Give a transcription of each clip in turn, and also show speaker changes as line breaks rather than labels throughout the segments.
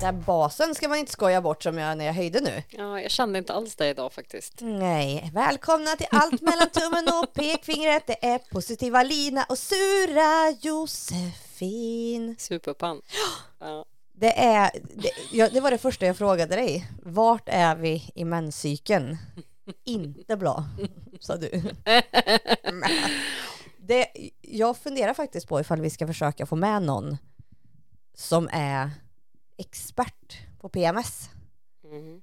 där basen ska man inte skoja bort som jag när jag höjde nu.
Ja, jag kände inte alls det idag faktiskt.
Nej, välkomna till allt mellan tummen och pekfingret. Det är positiva Lina och sura Josefin.
Superpann. Ja.
Det, är, det, ja, det var det första jag frågade dig. Vart är vi i menscykeln? Inte bra, sa du. Det, jag funderar faktiskt på ifall vi ska försöka få med någon som är expert på PMS
Mhm.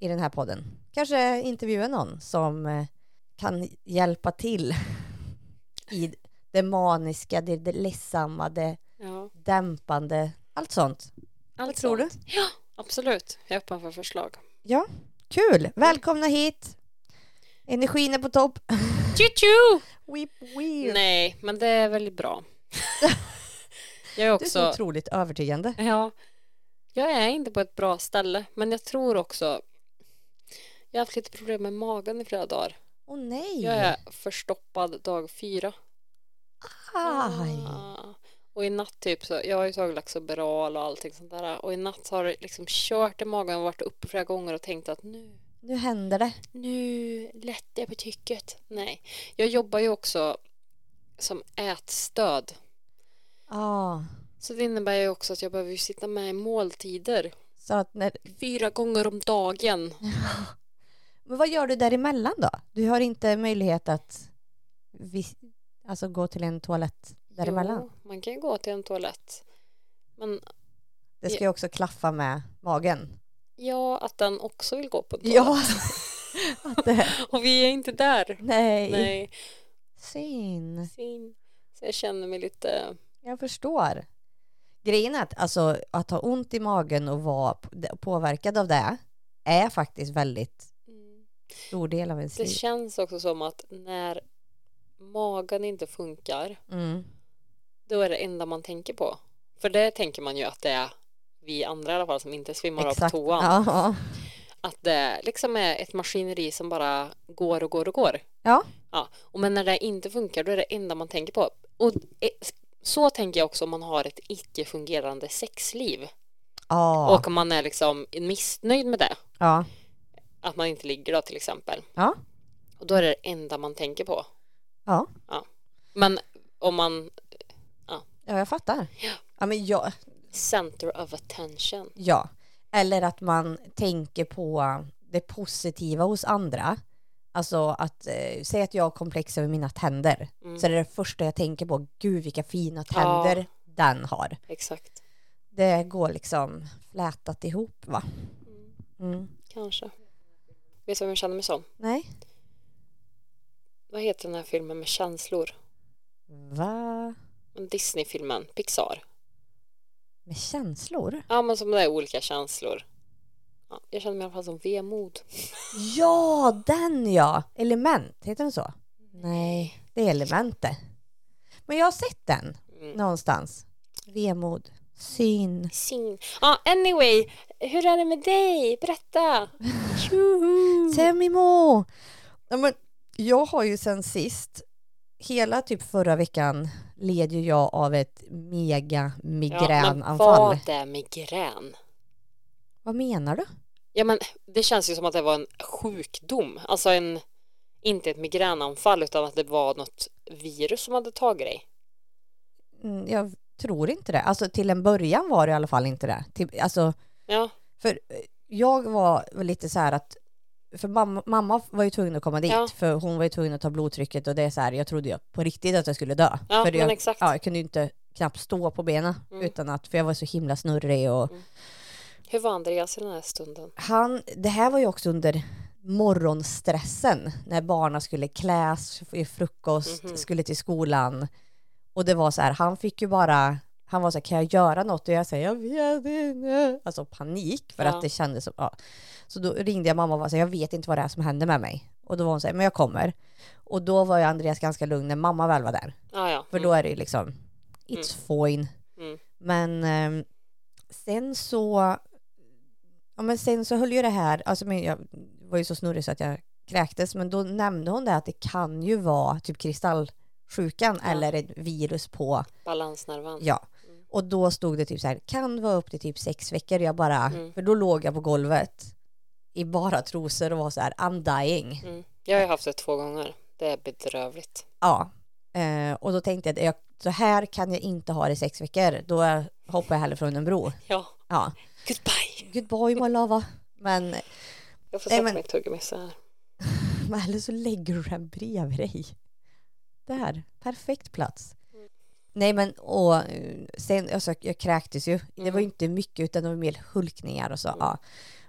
i den här podden. Kanske intervjua någon som eh, kan hjälpa till i det maniska, det, det ledsamma, det
Ja,
dämpande, allt sånt.
allt
tror du?
sånt. Ja, absolut. Jag är öppen för förslag.
Ja, kul! Välkomna hit! Energin är på topp.
Tju-tju!
Weep, weep.
Nej, men det är väldigt bra. jag är
Du är så
också...
otroligt övertygande.
Ja, jag är inte på ett bra ställe, men jag tror också... Jag har haft lite problem med magen i flera dagar.
Åh nej!
Jag är förstoppad dag fyra.
Aj.
Ah. Och i natt typ så, jag har ju tagit Laxoberal och allting sånt där. Och i natt har det liksom kört i magen och varit uppe flera gånger och tänkt att nu,
Nu händer det.
nu lättar jag på tycket. Nej, jag jobbar ju också som ätstöd.
Ja,
Så det innebär ju också att jag behöver ju sitta med i måltider
så att när...
fyra gånger om dagen.
Men vad gör du däremellan då? Du har inte möjlighet att vis... alltså gå till en toalett däremellan?
Jo, man kan ju gå till en toalett. Men
Det ska ju också klaffa med magen.
ja, att den också vill gå på en toalett.
Ja. Att det,
Och vi är inte där.
nej.
Nej.
Syn.
Fin. Så jag känner mig lite...
Jag förstår. Grejen är att, alltså, att ha ont i magen och vara p- påverkad av det är faktiskt väldigt
mm.
stor del av ens
Det
liv.
känns också som att när magen inte funkar,
Mm.
då är det enda man tänker på. För det tänker man ju att det är vi andra i alla fall som inte svimmar av på
Exakt.
toan.
Ja, ja.
Att det liksom är ett maskineri som bara går och går och går.
Ja.
ja. Och men när det inte funkar, då är det enda man tänker på. Och eh, så tänker jag också om man har ett icke-fungerande sexliv.
Ja.
Och om man är liksom missnöjd med det.
ja.
Att man inte ligger då till exempel.
Ja.
Och då är det det enda man tänker på.
Ja.
Men om man
ja, jag fattar. Ja, men jag,
center of attention.
Ja, eller att man tänker på det positiva hos andra. Alltså att, eh, säg att jag har komplex över mina tänder.
Mm.
Så det är det första jag tänker på, gud vilka fina tänder
Ja.
den har.
Exakt.
Det går liksom flätat ihop va? Mm.
Kanske. Vet du vem jag känner mig som?
Nej?
Vad heter den här filmen med känslor?
Va?
Disney-filmen, Pixar.
Med känslor?
Ja men som det är olika känslor. Ja, jag känner mig i alla fall som vemod.
Ja, den ja! Element, heter den så? Nej, det är elemente. Men jag har sett den
Mm.
någonstans. Vemod, syn.
Sing. Ja, anyway. Hur är det med dig? Berätta. Tjoho!
Tell me more. Ja, men jag har ju sen sist, hela typ förra veckan led ju jag av ett mega
men
migränanfall.
vad är migrän?
Vad menar du?
Ja men det känns ju som att det var en sjukdom. Alltså en, inte ett migränanfall utan att det var något virus som hade tagit dig.
Mm, Jag tror inte det. Alltså till en början var det i alla fall inte det. Till, alltså,
Ja,
för eh, jag var väl lite så här att för mamma, mamma var ju tvungen att komma dit
Ja.
för hon var ju tvungen att ta blodtrycket och det är så här jag trodde ju på riktigt att jag skulle dö.
ja
för
men
jag,
exakt.
ja, jag kunde ju inte knappt stå på benen
Mm.
utan att för jag var så himla snurrig och
Hur var Andreas i den här stunden?
han, det här var ju också under morgonstressen när barnen skulle kläs, i frukost,
Mhm.
skulle till skolan. Och det var så här, han fick ju bara, han var så här, kan jag göra något? Och jag säger, jag vet inte. Alltså panik för
Ja.
att det kändes som, ja. Så då ringde jag mamma och var så här, jag vet inte vad det är som händer med mig. Och då var hon så här, men jag kommer. Och då var ju Andreas ganska lugn när mamma väl var där.
Ja, ja.
För då är det ju liksom, it's fine.
Mm.
Men ehm, sen så, ja men sen så höll ju det här, alltså men jag var ju så snurrig så att jag kräktes, men då nämnde hon det att det kan ju vara typ kristallsjukan
Ja.
eller ett virus på,
Mm, Balansnerven.
ja.
Mm.
Och då stod det typ så här, kan vara upp till typ sex veckor. Jag bara,
Mm.
för då låg jag på golvet i bara trosor och var så här, I'm dying.
Mm. Jag har ju haft det två gånger. Det är bedrövligt.
Ja, eh, och då tänkte jag, att jag, så här kan jag inte ha det i sex veckor. Då hoppar jag hellre från en bro.
Ja,
Ja,
goodbye.
goodbye my lava. Men,
Jag får
Nej,
sätta
men-
mitt tuggummi så här.
men eller så lägger du den bredvid dig. Där, perfekt plats. Nej men och eh, sen, alltså, jag kräktes ju. Det var ju inte mycket utan det var mer hulkningar och så. Ja.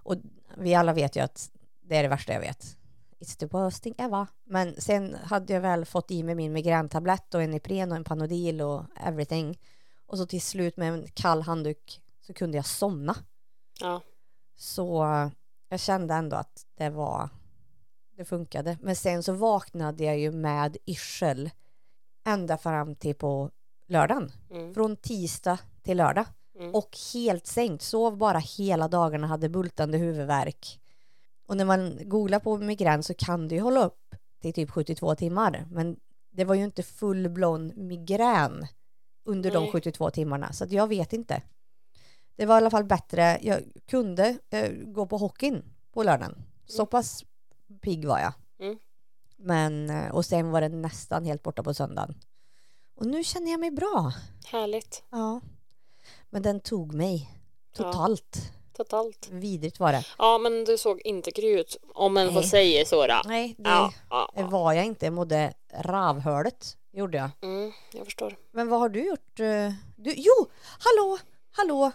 Och vi alla vet ju att det är det värsta jag vet. It's the worst thing ever. Men sen hade jag väl fått i mig min migräntablett och en Ipren och en Panodil och everything. Och så till slut med en kall handduk så kunde jag somna.
Ja.
Så eh, jag kände ändå att det var det funkade. Men sen så vaknade jag ju med yrsel ända fram till på lördagen.
Mm.
Från tisdag till lördag.
Mm.
Och helt sänkt. Sov bara hela dagarna, hade bultande huvudvärk. Och när man googlar på migrän så kan det ju hålla upp till typ 72 timmar. Men det var ju inte full-blown migrän under de
Nej.
72 timmarna. Så att jag vet inte. Det var i alla fall bättre. Jag kunde eh, gå på hockeyn på lördagen. Så pass pigg var jag.
Mm.
Men, eh, och sen var det nästan helt borta på söndagen. Och nu känner jag mig bra.
Härligt.
Ja. Men den tog mig. Totalt.
Totalt.
Vidrigt var det.
Ja, men du såg inte kry ut. Om en får
Nej.
säga så då.
Nej, det
Ja, ja, ja.
var jag inte. Jag mådde ravhölet. Gjorde jag.
Mm, jag förstår.
Men vad har du gjort? eh, Du, jo, hallå, hallå.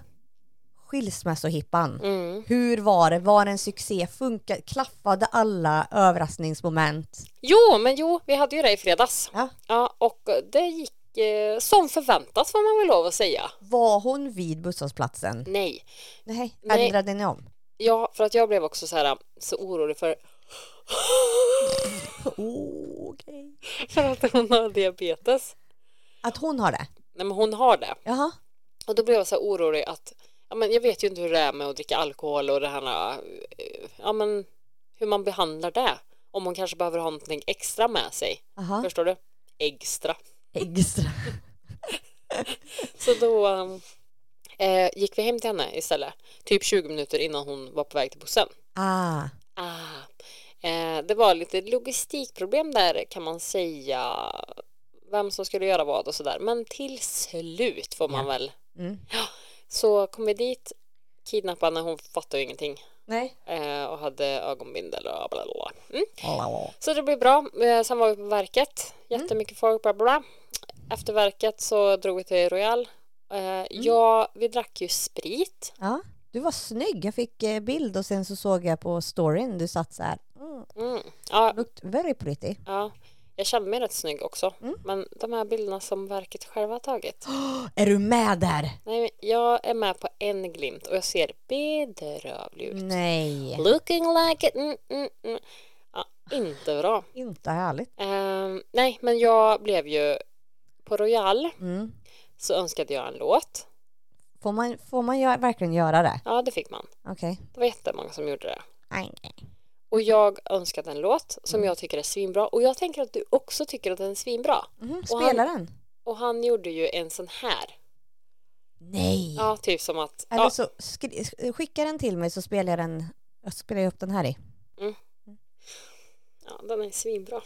Skilsmässohippan.
Mm.
Hur var det? Var det en succé? Funkade? Klaffade alla överraskningsmoment?
Jo, men jo, vi hade ju det i fredags.
Ja.
och det gick eh, som förväntat får man väl lov att säga.
Var hon vid busshållplatsen?
Nej,
Nej,
Nej.
ändrade ni om?
ja, för att jag blev också så här eh, så orolig för
Oh, okay.
för att hon har diabetes.
Att hon har det?
Nej, men hon har det.
Jaha.
Och då blev jag så här orolig att ja, men jag vet ju inte hur det är med att dricka alkohol och det här eh, ja, men hur man behandlar det. Om hon kanske behöver ha någonting extra med sig.
Aha.
Förstår du? Extra.
Extra.
Så då um, eh, gick vi hem till henne istället. Typ 20 minuter innan hon var på väg till bussen.
Ah.
Ah, eh, det var lite logistikproblem där kan man säga. Vem som skulle göra vad och sådär. Men till slut får man
Ja.
väl.
Mm.
Så kom vi dit. Kidnapparna, hon fattade ju ingenting.
Nej.
Eh, och hade ögonbindel och bla bla bla. Mm.
Ja.
Så det blev bra. Eh, Sen var vi på verket. Jättemycket folk. Bla bla, bla. Efter verket så drog vi till Royal. Eh, Ja, vi drack ju sprit.
Du var snygg. Jag fick eh, bild och sen så såg jag på storyn du satt så här. Mm.
Mm. Ja,
Looked very pretty.
ja, jag kände mig rätt snygg också. Men de här bilderna som verket själva har tagit.
Är du med där?
Nej, men jag är med på en glimt och jag ser bedrövlig ut.
Nej.
Looking like it. Mm, mm, mm. Ja, inte bra.
Inte härligt.
Ehm, nej, men jag blev ju på Royal
Mm.
så önskade jag en låt.
Får man, får man gö- verkligen göra det?
Ja, det fick man.
Okej.
Det var jättemånga som gjorde det.
Nej.
Och jag önskade en låt som
Mm.
jag tycker är svinbra. Och jag tänker att du också tycker att den är svinbra.
Mhm,
Och
Spela den.
Och han gjorde ju en sån här.
Nej.
Ja, typ som att...
Eller
Ja,
så skri- sk- skicka den till mig så spelar jag den. Jag spelar ju upp den här i.
ja den är svinbra.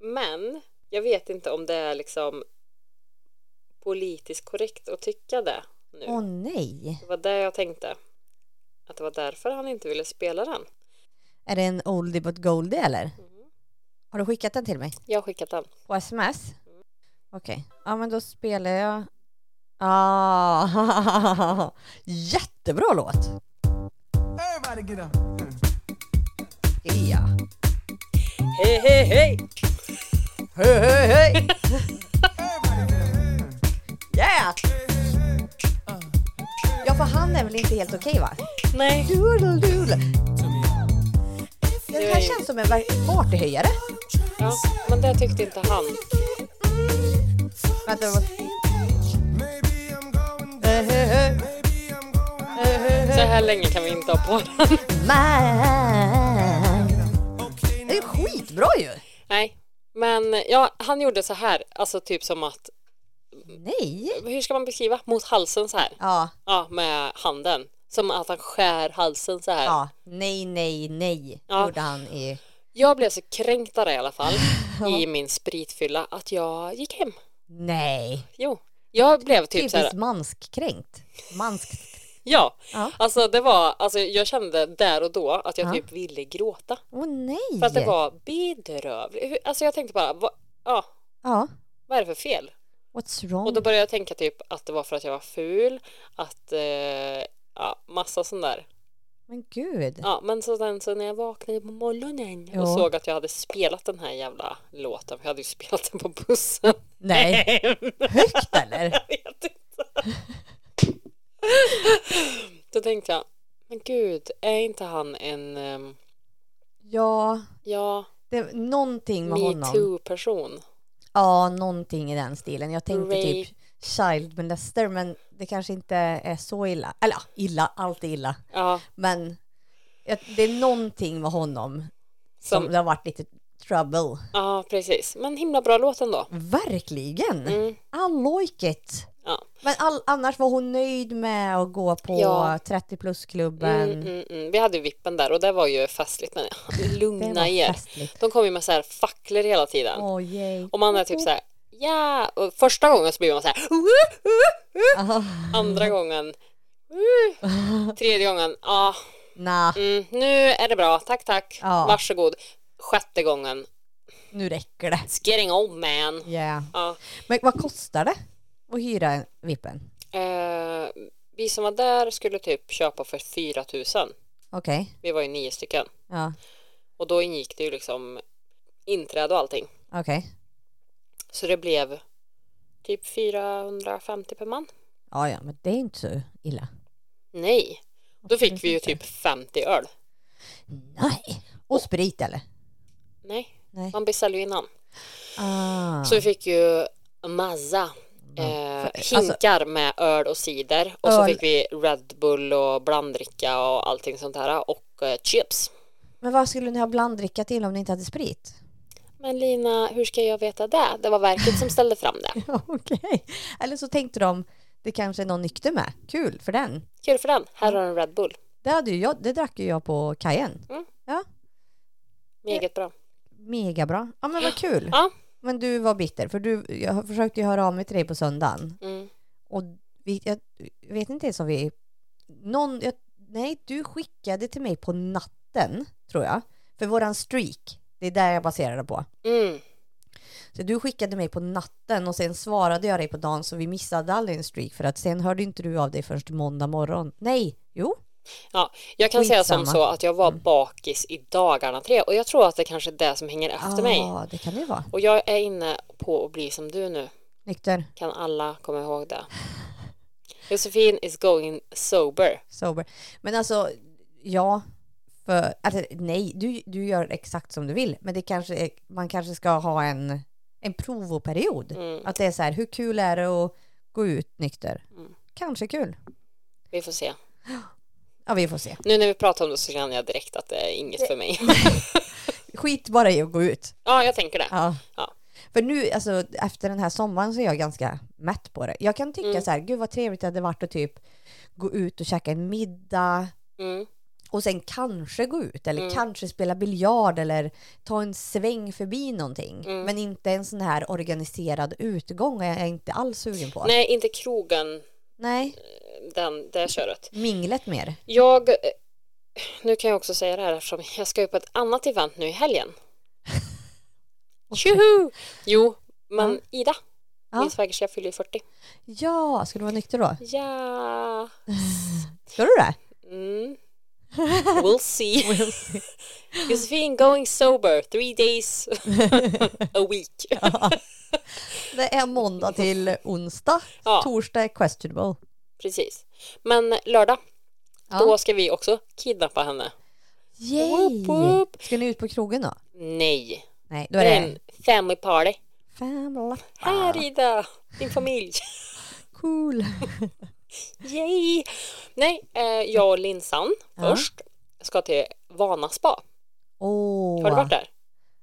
Men jag vet inte om det är liksom politiskt korrekt att tycka det nu.
Åh nej.
Det var det jag tänkte. Att det var därför han inte ville spela den.
Är det en oldie but goldie eller? Har du skickat den till mig?
Jag har skickat den.
På sms? Okej. Ja men då spelar jag. Ah, jättebra låt.
Everybody get up.
Ja.
Hej, hej, hej!
Hej hej hej.
Everybody get up.
Yeah. Ja för han är väl inte helt okej va?
Nej,
Doodle-doodle.
Det
Den
var
här
ju-
känns som en verk- partyhöjare.
ja, men det tyckte inte han.
Vänta, jag måste-
Maybe I'm going down.
Hej, hej, hej.
Maybe I'm going down.
Så här länge kan vi inte ha på den.
Man. Det är skitbra ju.
Nej, Men ja, han gjorde så här, alltså typ som att,
Nej!
hur ska man beskriva? Mot halsen så här.
Ja,
Ja, med handen. Som att han skär halsen så här.
ja. Nej, nej, nej.
Ja.
Gjorde han i...
Jag blev så kränkt av det i alla fall, i min spritfylla, att jag gick hem.
Nej.
Jo, jag blev typ så här,
Typiskt manskränkt. Manskt.
ja.
Ja.
Alltså det var, alltså jag kände där och då att jag
Ja.
typ ville gråta.
Åh nej!
För att det var bedrövligt. Hur- Alltså jag tänkte bara, vad, ja,
Ja.
vad är det för fel?
What's wrong?
Och då började jag tänka typ att det var för att jag var ful, att eh, ja, massa sånt där.
Men gud.
Ja, men så sen så när jag vaknade på morgonen
Ja.
och såg att jag hade spelat den här jävla låten, för jag hade ju spelat den på bussen.
Nej. Högt eller?
Jag vet inte. Då tänkte jag, men gud, är inte han en, ehm,
Ja.
ja,
Det, någonting med honom.
metoo-person?
Ja, någonting i den stilen. Jag tänkte
Rape.
typ child molester, men det kanske inte är så illa. Eller ja, illa, allt är illa.
Ja,
Men jag- det är någonting med honom som,
som,
det har varit lite trouble.
ja, precis. Men himla bra låt ändå.
Verkligen!
Mm,
I like it!
ja.
Men all, annars var hon nöjd med att gå på
Ja.
30 plus-klubben.
Mm, mm, mm. Vi hade ju vippen där och det var ju festligt, men
Det
lugna
var
er.
festligt.
De kom ju med så här facklor hela tiden.
Åh yay.
Och man är typ så här, ja! Och första gången så blir man så här, "Uh, uh, uh."
Ah,
andra gången, "Uh." tredje gången, ja.
nah,
Mm, nu är det bra, tack tack.
Ja.
Varsågod. Sjätte gången.
nu räcker det.
It's getting old man.
Yeah.
Ja.
Men vad kostar det att hyra en vippen?
Eh, vi som var där skulle typ köpa för 4 000.
Okej,
Vi var ju nio stycken.
ja,
Och då ingick det ju liksom inträde och allting.
okej.
Så det blev typ 450 per man.
Ja, ja, men det är inte så illa.
Nej. Då fick vi ju typ 50 öl.
Nej. Och sprit eller?
Nej,
Nej.
man beställer ju innan.
Ah.
Så vi fick ju massa eh,
För- alltså-
hinkar med öl och cider och så
Öl.
fick vi Red Bull och blanddricka och allting sånt här och eh, chips.
Men vad skulle ni ha blanddricka till om ni inte hade sprit?
Men Lina, hur ska jag veta det? Det var verket som ställde fram det.
Ja, Okej. Eller så tänkte de, det kanske är någon nykter med. Kul för den.
Kul för den. Här har du en Red Bull.
Det, hade ju jag, det drack ju jag på kajen.
Med eget bra.
Mega bra. Ja, men vad kul.
Ja.
Men du var bitter, för du, jag försökte ju höra av mig till dig på söndagen.
Mm.
Och vi, jag vet inte ens om vi... Någon, jag, nej, du skickade till mig på natten, tror jag. För våran streak, det är där jag baserar det på.
Mm.
Så du skickade mig på natten och sen svarade jag dig på dagen så vi missade aldrig en streak för att sen hörde inte du av dig förrän till måndag morgon. Nej, jo.
Ja, jag kan säga som
Skitsamma. Mm.
så att jag var bakis i dagarna tre och jag tror att det kanske är det som hänger efter mig.
Ja, det kan det vara.
Och jag är inne på att bli som du nu.
Nykter,
Kan alla komma ihåg det? Josefin is going sober.
sober. Men alltså, ja. För, alltså, nej, du, du gör exakt som du vill. Men det kanske är, man kanske ska ha en, en provoperiod.
Mm.
Att det är så här, hur kul är det att gå ut nykter?
Mm.
Kanske kul.
Vi får se.
Ja, vi får se.
Nu när vi pratar om det så känner jag direkt att det är inget för mig.
Skit bara i att gå ut.
ja, jag tänker det.
Ja.
Ja.
För nu, alltså efter den här sommaren så är jag ganska mätt på det. Jag kan tycka
Mm.
så här, gud vad trevligt det hade varit att typ gå ut och käka en middag
Mm.
och sen kanske gå ut eller kanske spela biljard eller ta en sväng förbi någonting.
Mm.
Men inte en sån här organiserad utgång är jag inte alls sugen på. Nej,
Nej, inte krogen, den, det köret.
minglet mer.
Jag, eh, nu kan jag också säga det här eftersom jag ska ju på ett annat event nu i helgen. Tjoho! Jo, men Ida,
Ja.
min svägerska fyller ju 40.
Ja, ska du vara nykter då?
Ja.
Ska du det?
Mm. We'll see. Josefin going sober three days a week.
Det är måndag till onsdag.
Ja.
Torsdag är questionable.
Precis. Men lördag,
Ja.
då ska vi också kidnappa henne.
Yay!
Woop, woop.
Ska ni ut på krogen då?
Nej,
Nej, då
det
är
är
det Ah.
en family party.
fem lappar.
Här Ida, din familj.
Cool.
Yay! Nej, eh, jag och Linsan
Ja.
först ska till Vana spa.
Åh.
Har du varit där?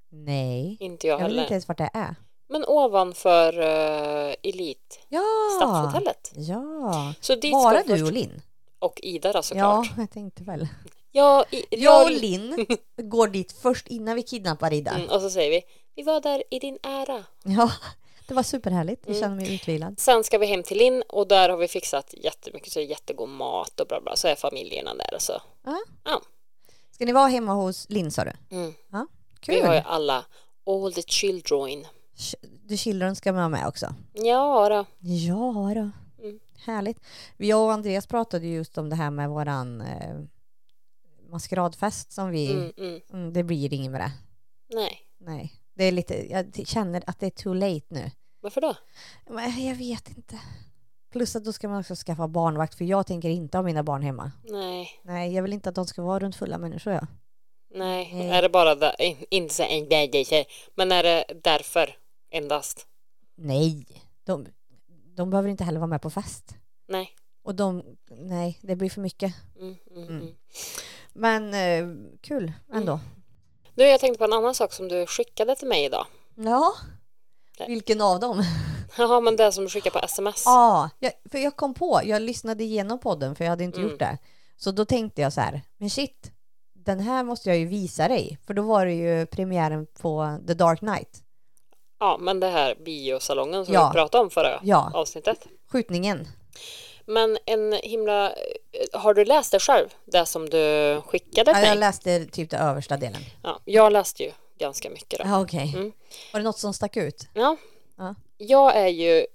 Nej.
Inte jag
Jag vet
heller.
inte ens vart det är.
Men ovanför uh, Elit,
Ja!
Stadshotellet.
Ja.
Så dit
Ah. Bara
ska
du och
först...
Linn?
och Ida då
Ja,
såklart.
jag tänkte väl.
Ja, i...
Jag och Linn går dit först innan vi kidnappar Ida.
Mm, och så säger vi, vi var där i din ära.
Ja, det var superhärligt.
Mm.
Jag känner mig utvilad.
Sen ska vi hem till Linn och där har vi fixat jättemycket så det är jättegod mat och bla bla. Så är familjerna där alltså. och så.
Ja.
Ja.
Ska ni vara hemma hos Linn sa du?
Mm.
Ja,
Vi har ju
kul.
alla, all the children.
The Children ska vara med också.
Ja då.
Ja då.
Mm.
Härligt. Jag och Andreas pratade ju just om det här med våran eh, maskeradfest som vi...
Mm, mm.
Mm, det blir inget med det.
Nej,
Nej. Det är lite, jag känner att det är too late nu.
varför då?
Men jag vet inte. Plus att då ska man också skaffa barnvakt för jag tänker inte ha mina barn hemma.
Nej,
Nej, jag vill inte att de ska vara runt fulla människor. Ja.
nej.
Nej.
Är det bara där, in- inte så en grej, grej, grej. men är det därför endast?
Nej, de, de behöver inte heller vara med på fest.
Nej.
Och de, nej, det blir för mycket.
Mm, mm,
Mm.
mm.
Men eh, kul ändå.
Du, jag tänkte på en annan sak som du skickade till mig idag.
Ja.
Nej.
Vilken av dem?
Jaha, men det som du skickade på sms.
Ja, jag, för jag kom på, jag lyssnade igenom podden för jag hade inte
Mm.
gjort det. Så då tänkte jag så här, men shit, den här måste jag ju visa dig. För då var det ju premiären på The Dark Knight.
Ja, men det här biosalongen som
Ja.
vi pratade om förra
Ja.
avsnittet.
Skjutningen.
Men en himla... Har du läst det själv? Det som du skickade
Ja,
till
jag
mig?
läste typ den översta delen.
Ja, jag läste ju ganska mycket då.
Ja, okej.
Mm.
Var det något som stack ut?
Ja.
Ja.
Jag är ju eh,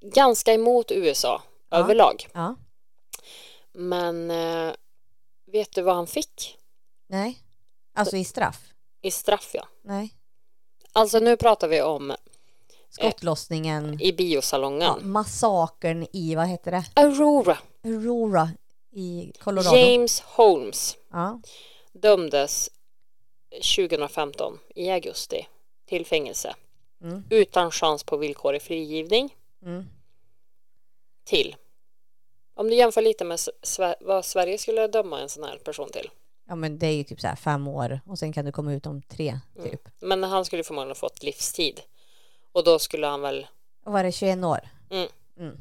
ganska emot USA
Ja.
överlag.
Ja.
Men eh, vet du vad han fick
Nej. Alltså i straff?
i straff? Ja.
Nej.
Alltså nu pratar vi om
Skottlossningen.
i
Ja,
biosalongen.
massakern i, vad heter det?
Aurora,
Aurora i Colorado.
James Holmes
Ja.
dömdes 2015 i augusti till fängelse
Mm.
utan chans på villkorig frigivning
Mm.
till om du jämför lite med Sve- vad Sverige skulle döma en sån här person till
ja, men det är ju typ så här fem år och sen kan du komma ut om tre
Mm.
typ.
Men han skulle förmodligen ha fått livstid. Och då skulle han väl...
Och var det 21 år?
Mm.
Mm.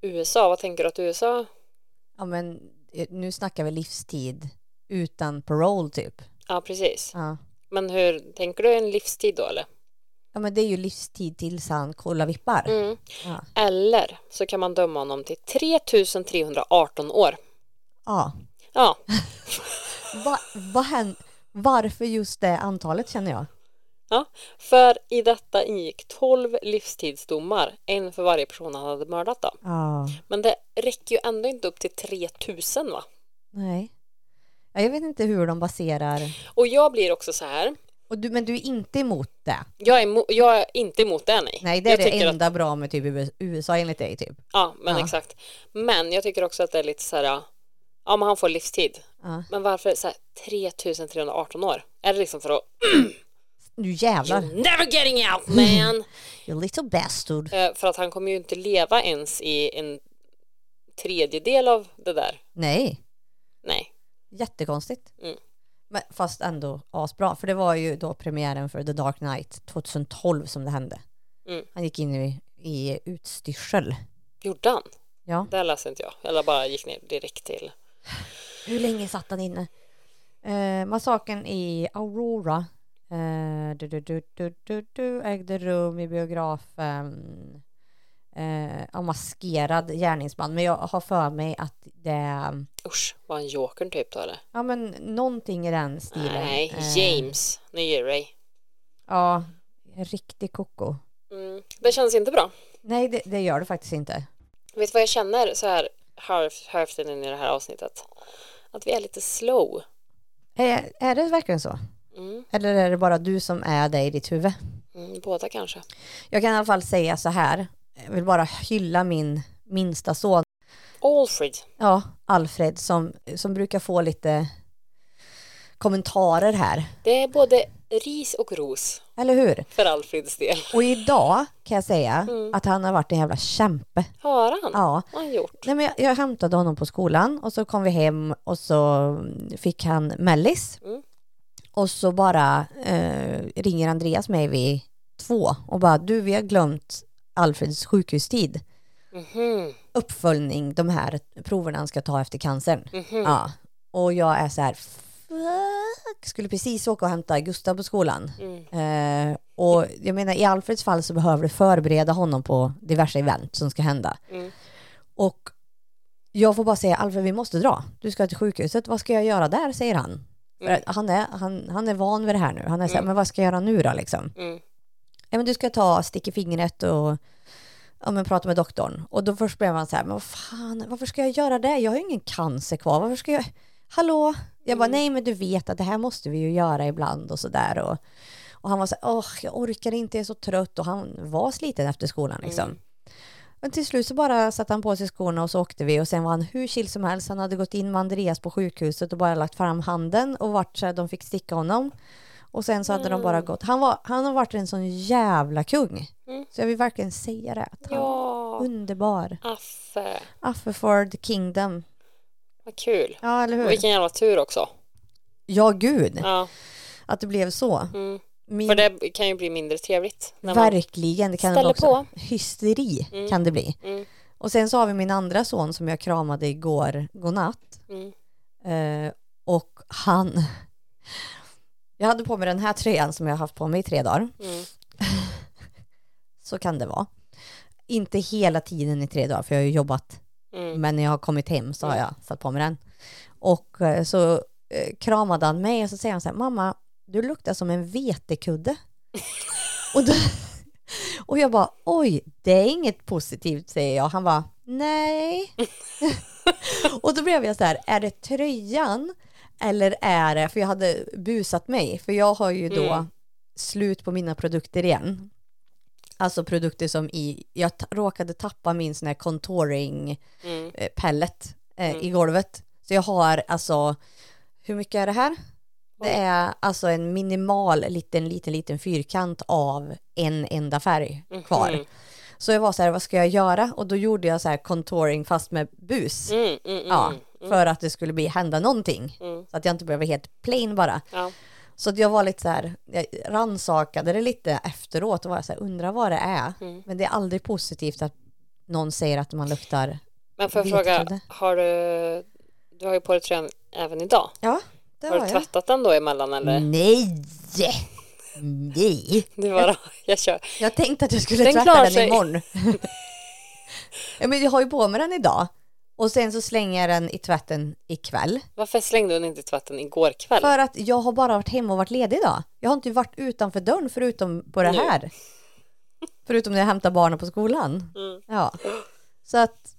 USA, vad tänker du att USA...
Ja, men eh, nu snackar vi livstid utan parole typ.
Ja, precis.
Ja.
Men hur tänker du en livstid då eller?
Ja, men det är ju livstid tills han kollar vippar.
Mm.
Ja.
Eller så kan man döma honom till 3318 år.
ja.
Ja,
Va, vad hän- varför just det antalet känner jag?
ja. För i detta ingick 12 livstidsdomar. En för varje person han hade mördat då.
Ja.
Men det räcker ju ändå inte upp till 3000 va?
Nej. Ja, jag vet inte hur de baserar.
Och jag blir också så här.
Och du, men du är inte emot det?
Jag är, emo- jag är inte emot det nej.
Nej, det
jag
är det
tycker att-
enda bra med typ US- USA enligt dig typ.
Ja, men
Ja.
exakt. Men jag tycker också att det är lite så här, ja men han får livstid.
Ja.
Men varför så här 3318 år? Är det liksom för att
Nu jävlar.
You're never getting out man?
You little bastard.
Eh, för att han kommer ju inte leva ens i en tredjedel av det där.
Nej,
Nej.
jättekonstigt.
Mm.
Men fast ändå asbra, för det var ju då premiären för The Dark Knight 2012 som det hände.
Mm.
Han gick in i, i utstyrsel.
Gjorde han?
Ja.
Det läste inte jag. Eller bara gick ner direkt till.
Hur länge satt han inne? Eh, massakern i Aurora eh, du, du, du, du, du, du, ägde rum i biografen. Eh, av maskerad gärningsman, men jag har för mig att det...
Usch, var han jokern typ då eller?
Ja men någonting i den stilen.
Nej,
Eh,
James. Nu ger Ray.
Ja, en riktig koko.
Mm. Det känns inte bra.
Nej, det, det gör det faktiskt inte.
Vet du vad jag känner så här halv- hälften in i det här avsnittet? Att vi är lite slow.
Är, Eh, är det verkligen så?
Mm,
Eller är det bara du som är det i ditt huvud?
mm, båda kanske.
Jag kan i alla fall säga så här. Jag vill bara hylla min minsta son,
Alfred.
ja, Alfred, som, som brukar få lite kommentarer här.
Det är både ris och ros
Eller hur?
för Alfreds del.
Och idag kan jag säga
Mm.
att han har varit en jävla kämpe.
Har han?
Ja.
Vad har han gjort?
Nej, men jag, jag hämtade honom på skolan och så kom vi hem och så fick han mellis.
Mm.
Och så bara eh, ringer Andreas mig vid två och bara du vi har glömt Alfreds sjukhustid.
Mhm.
Uppföljning, de här proverna han ska ta efter cancern.
Mhm.
Ja. Och jag är så här fuck, skulle precis åka och hämta Gustav på skolan.
Mm.
Eh, och jag menar i Alfreds fall så behöver du förbereda honom på diverse event som ska hända.
Mm.
Och jag får bara säga Alfred vi måste dra. Du ska till sjukhuset, vad ska jag göra där säger han. För
Mm.
att Han, är, han, han är van vid det här nu. Han är så här,
Mm.
men vad ska jag göra nu då liksom?
Mm.
ja, men du ska ta stick i fingret och ja, men prata med doktorn. Och då först blev man så här, men vad fan, varför ska jag göra det? Jag har ju ingen cancer kvar, varför ska jag, hallå? Jag
Mm.
bara, nej men du vet att det här måste vi ju göra ibland och sådär. Och, och han var så här, åh, jag orkar inte, jag är så trött. Och han var sliten efter skolan liksom.
Mm.
Men till slut så bara satte han på sig skorna och så åkte vi och sen var han hur chill som helst. Han hade gått in med Andreas på sjukhuset och bara lagt fram handen och vart så här, de fick sticka honom. Och sen så hade de bara gått. Han, var, han har varit en sån jävla kung.
Mm.
Så jag vill verkligen säga det. Att han,
Ja,
Underbar.
Affe.
Affeford Kingdom.
Vad kul.
Ja, eller hur?
Och vilken jävla tur också.
Ja, gud.
Ja.
Att det blev så.
Mm.
Min...
För det kan ju bli mindre trevligt. När man...
Verkligen, det kan det
ställer
också.
på.
Hysteri kan det bli.
Mm.
Och sen så har vi min andra son som jag kramade igår godnatt.
Mm.
Eh, och han... Jag hade på mig den här tröjan som jag har haft på mig i tre dagar.
Mm.
Så kan det vara. Inte hela tiden i tre dagar, för jag har ju jobbat
Mm.
Men när jag har kommit hem så har
Mm.
jag satt på mig den. Och eh, så eh, kramade han mig och så säger han så här, mamma, du luktar som en vetekudde. och, då, och jag bara, oj, det är inget positivt, säger jag. Han bara, nej. och då blev jag så här, är det tröjan eller är det, för jag hade busat mig, för jag har ju då
Mm.
slut på mina produkter igen. Alltså produkter som i, jag t- råkade tappa min sån här contouring
Mm.
eh, pellet eh,
Mm.
i golvet. Så jag har alltså, hur mycket är det här?
Oj.
Det är alltså en minimal liten, liten, liten fyrkant av en enda färg kvar.
Mhm.
Så jag var så här, vad ska jag göra? Och då gjorde jag så här contouring fast med bus.
Mm. Mm.
Ja,
Mm.
för att det skulle bli, hända någonting.
Mm.
Så att jag inte behöver helt plain bara.
Ja.
Så att jag var lite så här, jag rannsakade det lite efteråt och var så här, undrar vad det är.
Mm.
Men det är aldrig positivt att någon säger att man luktar,
Men får jag
Vet du
fråga,
det?
har du, du har ju på dig tröjan även idag.
ja, Mm. det
Har
var
du
jag.
tvättat den då emellan eller?
Nej! Nej!
Det var, jag kör.
Jag tänkte att jag skulle
Den
tvätta
klarar
den
sig.
imorgon. ja, men jag har ju på mig den idag. Och sen så slänger jag den i tvätten ikväll.
Varför slängde hon inte i tvätten igår kväll?
För att jag har bara varit hemma och varit ledig idag. Jag har inte varit utanför dörren förutom på det
Nu.
här. Förutom när jag hämtar barnen på skolan.
Mm.
Ja. Så att...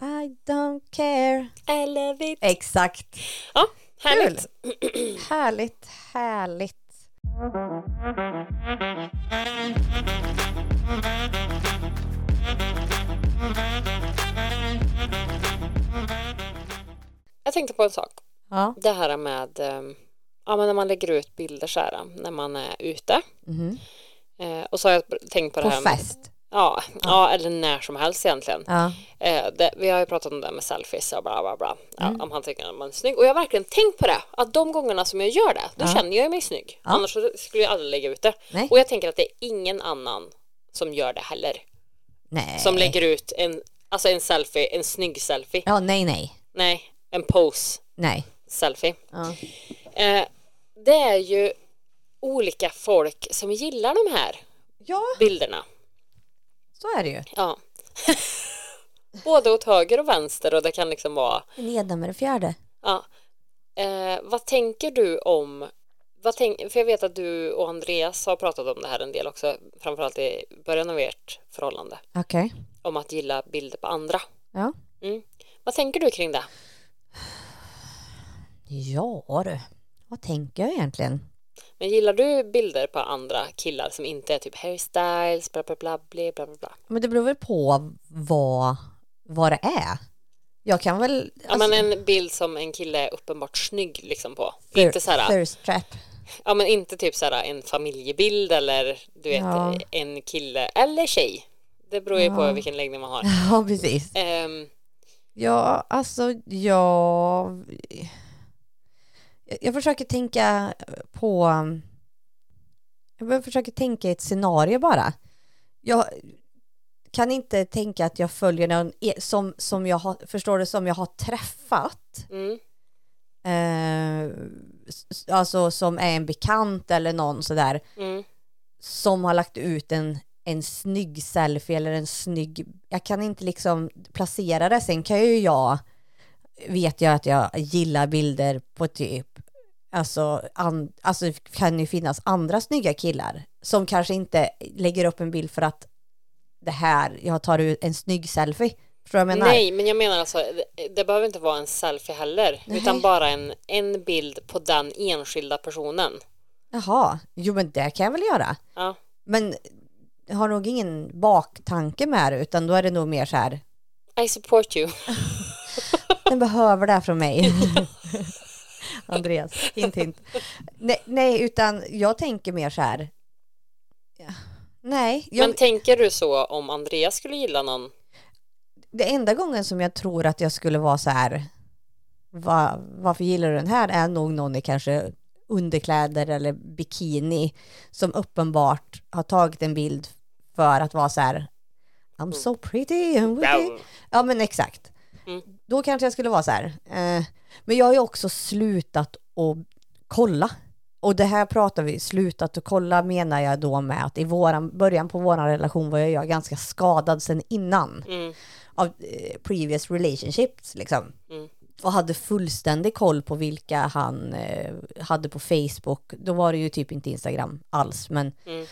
I don't care.
Elevit.
Exakt.
Ja, härligt.
Härligt, härligt.
Jag tänkte på en sak.
Ja.
Det här med ehm, ja, men när man lägger ut bilder så här, när man är ute.
Mhm.
Eh, och så har jag tänkt på det
På
här med,
fest.
Ja, ja, eller när som helst egentligen.
Ja.
Eh, det, vi har ju pratat om det här med selfies och bla bla bla. Ja,
Mm.
Om han tycker att man är snygg. Och jag har verkligen tänkt på det. Att de gångerna som jag gör det, då känner jag mig snygg. Annars så skulle jag aldrig lägga ut det.
Nej.
Och jag tänker att det är ingen annan som gör det heller.
Nej.
Som lägger ut en, alltså en selfie, en snygg selfie.
Ja, nej, nej.
Nej, en pose
Nej.
selfie.
Ja.
Eh, det är ju olika folk som gillar de här
ja,
bilderna.
så är det ju.
Ja. Både åt höger och vänster och det kan liksom vara
Den ena med den fjärde.
Ja. Eh, vad tänker du om vad tänk, för jag vet att du och Andreas har pratat om det här en del också, framförallt i början av ert förhållande,
Okej.
om att gilla bilder på andra.
Ja.
Mm. Vad tänker du kring det?
Ja du. Vad tänker jag egentligen?
Men gillar du bilder på andra killar som inte är typ hairstyles, bla bla bla, bli, bla bla bla?
Men det beror väl på vad, vad det är. Jag kan väl... alltså,
Ja, men en bild som en kille är uppenbart snygg liksom på.
thir-
Inte så här,
Thirst trap.
ja men inte typ så här en familjebild eller du vet
Ja.
en kille eller tjej. Det beror ju
Ja.
på vilken läggning man har.
Ja, precis.
Ehm,
Ja, alltså jag... Jag, jag försöker tänka på... Jag bara försöker tänka i ett scenario bara. Jag kan inte tänka att jag följer någon e- som, som jag har, förstår det, som jag har träffat.
Mm.
Eh, s- s- alltså som är en bekant eller någon sådär.
Mm.
Som har lagt ut en, en snygg selfie eller en snygg... Jag kan inte liksom placera det. Sen kan ju jag... Vet jag att jag gillar bilder på typ... Alltså, an, alltså det kan ju finnas andra snygga killar som kanske inte lägger upp en bild för att det här, jag tar ut en snygg selfie. Förstår du vad jag menar?
Nej, men jag menar alltså, det, det behöver inte vara en selfie heller,
Nej.
utan bara en, en bild på den enskilda personen.
Jaha, jo men det kan jag väl göra.
Ja.
Men jag har nog ingen baktanke med det utan då är det nog mer så här,
I support you.
den behöver det här från mig. Andreas, hint hint. Nej, nej, utan jag tänker mer så här, ja, nej, jag,
Men tänker du så om Andreas skulle gilla någon?
det enda gången som jag tror att jag skulle vara så här, va, varför gillar du den här, är nog någon i kanske underkläder eller bikini som uppenbart har tagit en bild för att vara så här, I'm so pretty, I'm pretty.
Mm. Wow.
Ja men exakt.
Mm.
Då kanske jag skulle vara så här. Eh, men jag har ju också slutat att kolla. Och det här pratar vi, slutat att kolla menar jag då med att i våran, början på våran relation var jag, jag ganska skadad sen innan
Mm.
av eh, previous relationships liksom.
Mm.
Och hade fullständig koll på vilka han eh, hade på Facebook. Då var det ju typ inte Instagram alls men
Mm.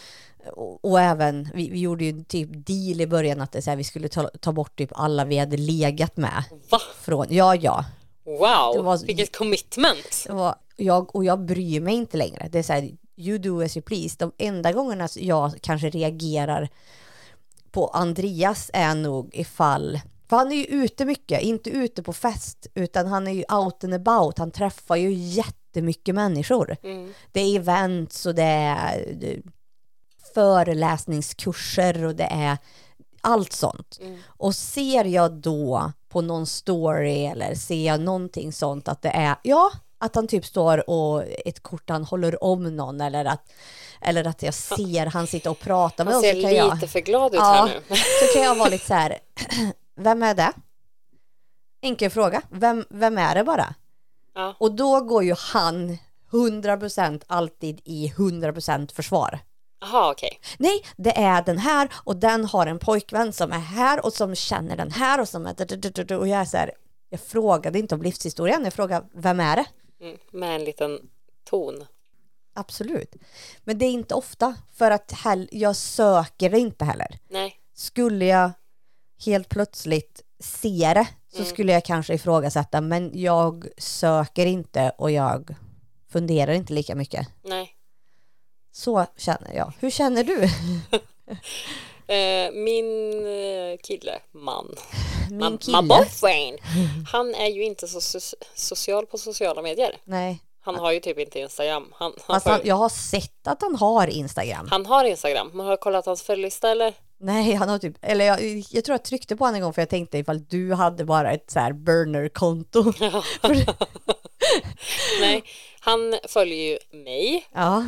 och, och även, vi, vi gjorde ju typ deal i början att det är så här, vi skulle ta, ta bort typ alla vi hade legat med.
Va?
Från, ja ja. Det
Wow,
var-
vilket commitment!
Det var, jag, och jag bryr mig inte längre. Det är så här, you do as you please. De enda gångerna jag kanske reagerar på Andreas är nog ifall, för han är ju ute mycket, inte ute på fest, utan han är ju out and about, han träffar ju jättemycket människor.
Mm.
Det är events och det är eh, föreläsningskurser och det är allt sånt.
Mm.
Och ser jag då på någon story eller ser jag någonting sånt att det är, ja, att han typ står och ett kort han håller om någon eller att, eller att jag ser han sitta och prata med
Han
någon. så
ser
kan jag-
lite för glad ut
Ja.
här nu.
så kan jag vara lite så här, vem är det? Enkel fråga, vem, vem är det bara?
Ja.
Och då går ju han 100% alltid i 100% försvar.
Jaha, okej.
Nej, det är den här och den har en pojkvän som är här och som känner den här och som är... Och jag är så här, jag frågade inte om livshistorien, jag frågade vem är det?
Mm. Med en liten ton.
Absolut. Men det är inte ofta, för att hell- jag söker det inte heller.
Nej.
skulle jag helt plötsligt se det så
Mm.
skulle jag kanske ifrågasätta men jag söker inte och jag funderar inte lika mycket.
Nej.
Så känner jag. Hur känner du?
Eh, min eh, kille, man,
Min
man,
kille?
man boyfriend, han är ju inte så so- social på sociala medier.
Nej.
Han har ju typ inte Instagram. Han, han,
Fast han,
har, ju-
jag har sett att han har Instagram.
han har Instagram, men har du kollat hans följdlista eller?
Nej, han har typ, eller jag, jag tror jag tryckte på honom en gång för jag tänkte ifall du hade bara ett så här burner-konto.
Nej, han följer ju mig,
Ja.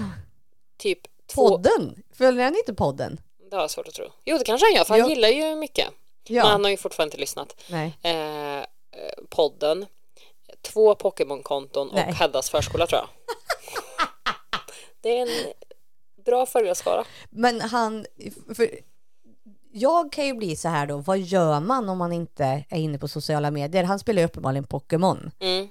typ två...
Podden? Följer han inte podden?
Det har jag svårt att tro. Jo, det kanske han gör, för han
Ja.
gillar ju mycket.
Ja.
Men han har ju fortfarande inte lyssnat.
Nej.
eh, eh, podden, två Pokémon-konton och
Nej.
Heddas förskola tror jag. Det är en bra följarskara.
Men han, för jag kan ju bli så här då, vad gör man om man inte är inne på sociala medier? Han spelar ju uppenbarligen Pokémon.
Mm.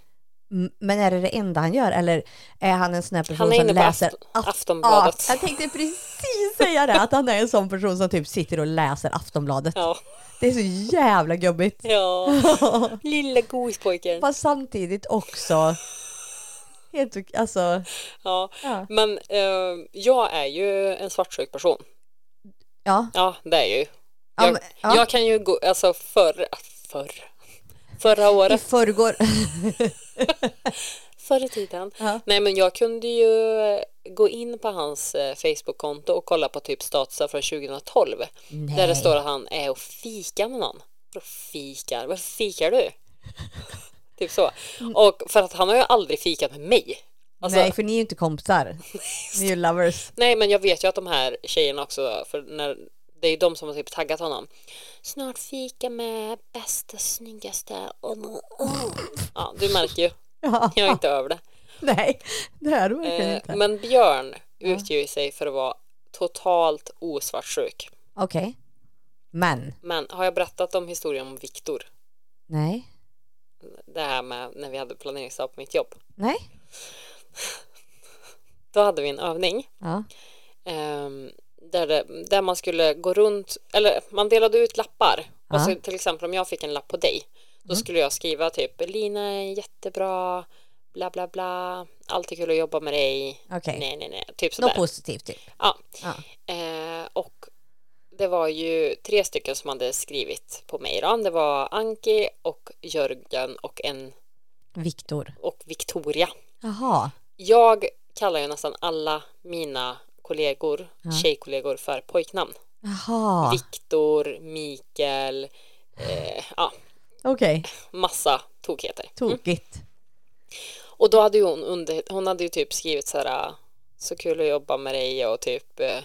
M- Men är det det enda han gör eller är han en sån här
Han
person
är
som
inne på
läser
Aft-
Aft-
Aftonbladet.
Ja, jag tänkte precis säga det, att han är en sån person som typ sitter och läser Aftonbladet.
Ja,
Det är så jävla gubbigt.
ja. lilla gospojken.
Fast samtidigt också helt ok- alltså,
Ja.
ja.
Men eh, jag är ju en svartsjuk person.
Ja,
Ja, det är jag ju.
Ja,
Jag,
men- ja.
jag kan ju gå, alltså förr, förr, förra
i
året,
förrgår.
förr i tiden.
Ja.
Nej, men jag kunde ju eh, gå in på hans eh, Facebook-konto och kolla på typ statusar från 2012.
Nej.
Där det står att han är och fikar med någon. Vadå fikar? Varför fikar du? typ så. Och för att han har ju aldrig fikat med mig. Alltså,
Nej, för ni är ju inte kompisar. ni är ju lovers.
Nej men jag vet ju att de här tjejerna också, för när, det är ju de som har typ taggat honom. Snart fika med bästa, snyggaste. Oh, oh. Ja, du märker ju.
Ja.
Jag är inte över det.
Nej, det är du verkligen
Eh,
inte.
men Björn utger sig för att vara totalt osvartsjuk.
Okej. Men,
Men har jag berättat om historien om Viktor?
nej.
Det här med när vi hade planeringsdag på mitt jobb.
Nej.
Då hade vi en övning
Ja.
ehm, där, det, där man skulle gå runt, eller man delade ut lappar.
Ja. Mm.
Och så, till exempel om jag fick en lapp på dig, då skulle jag skriva typ Lina är jättebra, bla bla bla, alltid kul att jobba med dig,
Okej.
nej nej nej, typ sådär.
Något positivt typ.
Ja.
Ja.
Eh, och det var ju tre stycken som hade skrivit på mig då. Det var Anki och Jörgen och en
Viktor.
och Victoria.
Jaha.
Jag kallar ju nästan alla mina kollegor, tjejkollegor för pojknamn.
Jaha.
Viktor, Mikael, eh, ja,
Okej.
massa tokigheter.
Tokigt.
Och då hade ju hon under, hon hade ju typ skrivit så här så kul att jobba med dig och typ eh,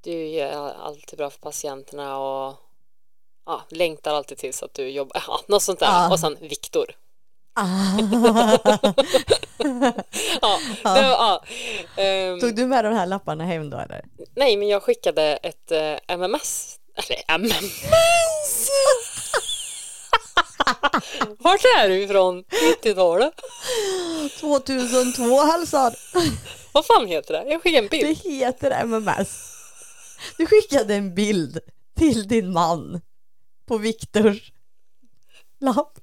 du gör alltid bra för patienterna och ja, längtar alltid tills att du jobbar, ja, något sånt där.
Ja.
Och sen Viktor.
Ah.
Ja, det var, ja. Ehm,
Tog du med de här lapparna hem då eller?
nej, men jag skickade ett eh, MMS, eller MMS, vart är du ifrån 90-talet?
2002 alltså.
Vad fan heter det? Jag skickade en
Det
bild.
heter MMS. Du skickade en bild till din man på Viktors lapp.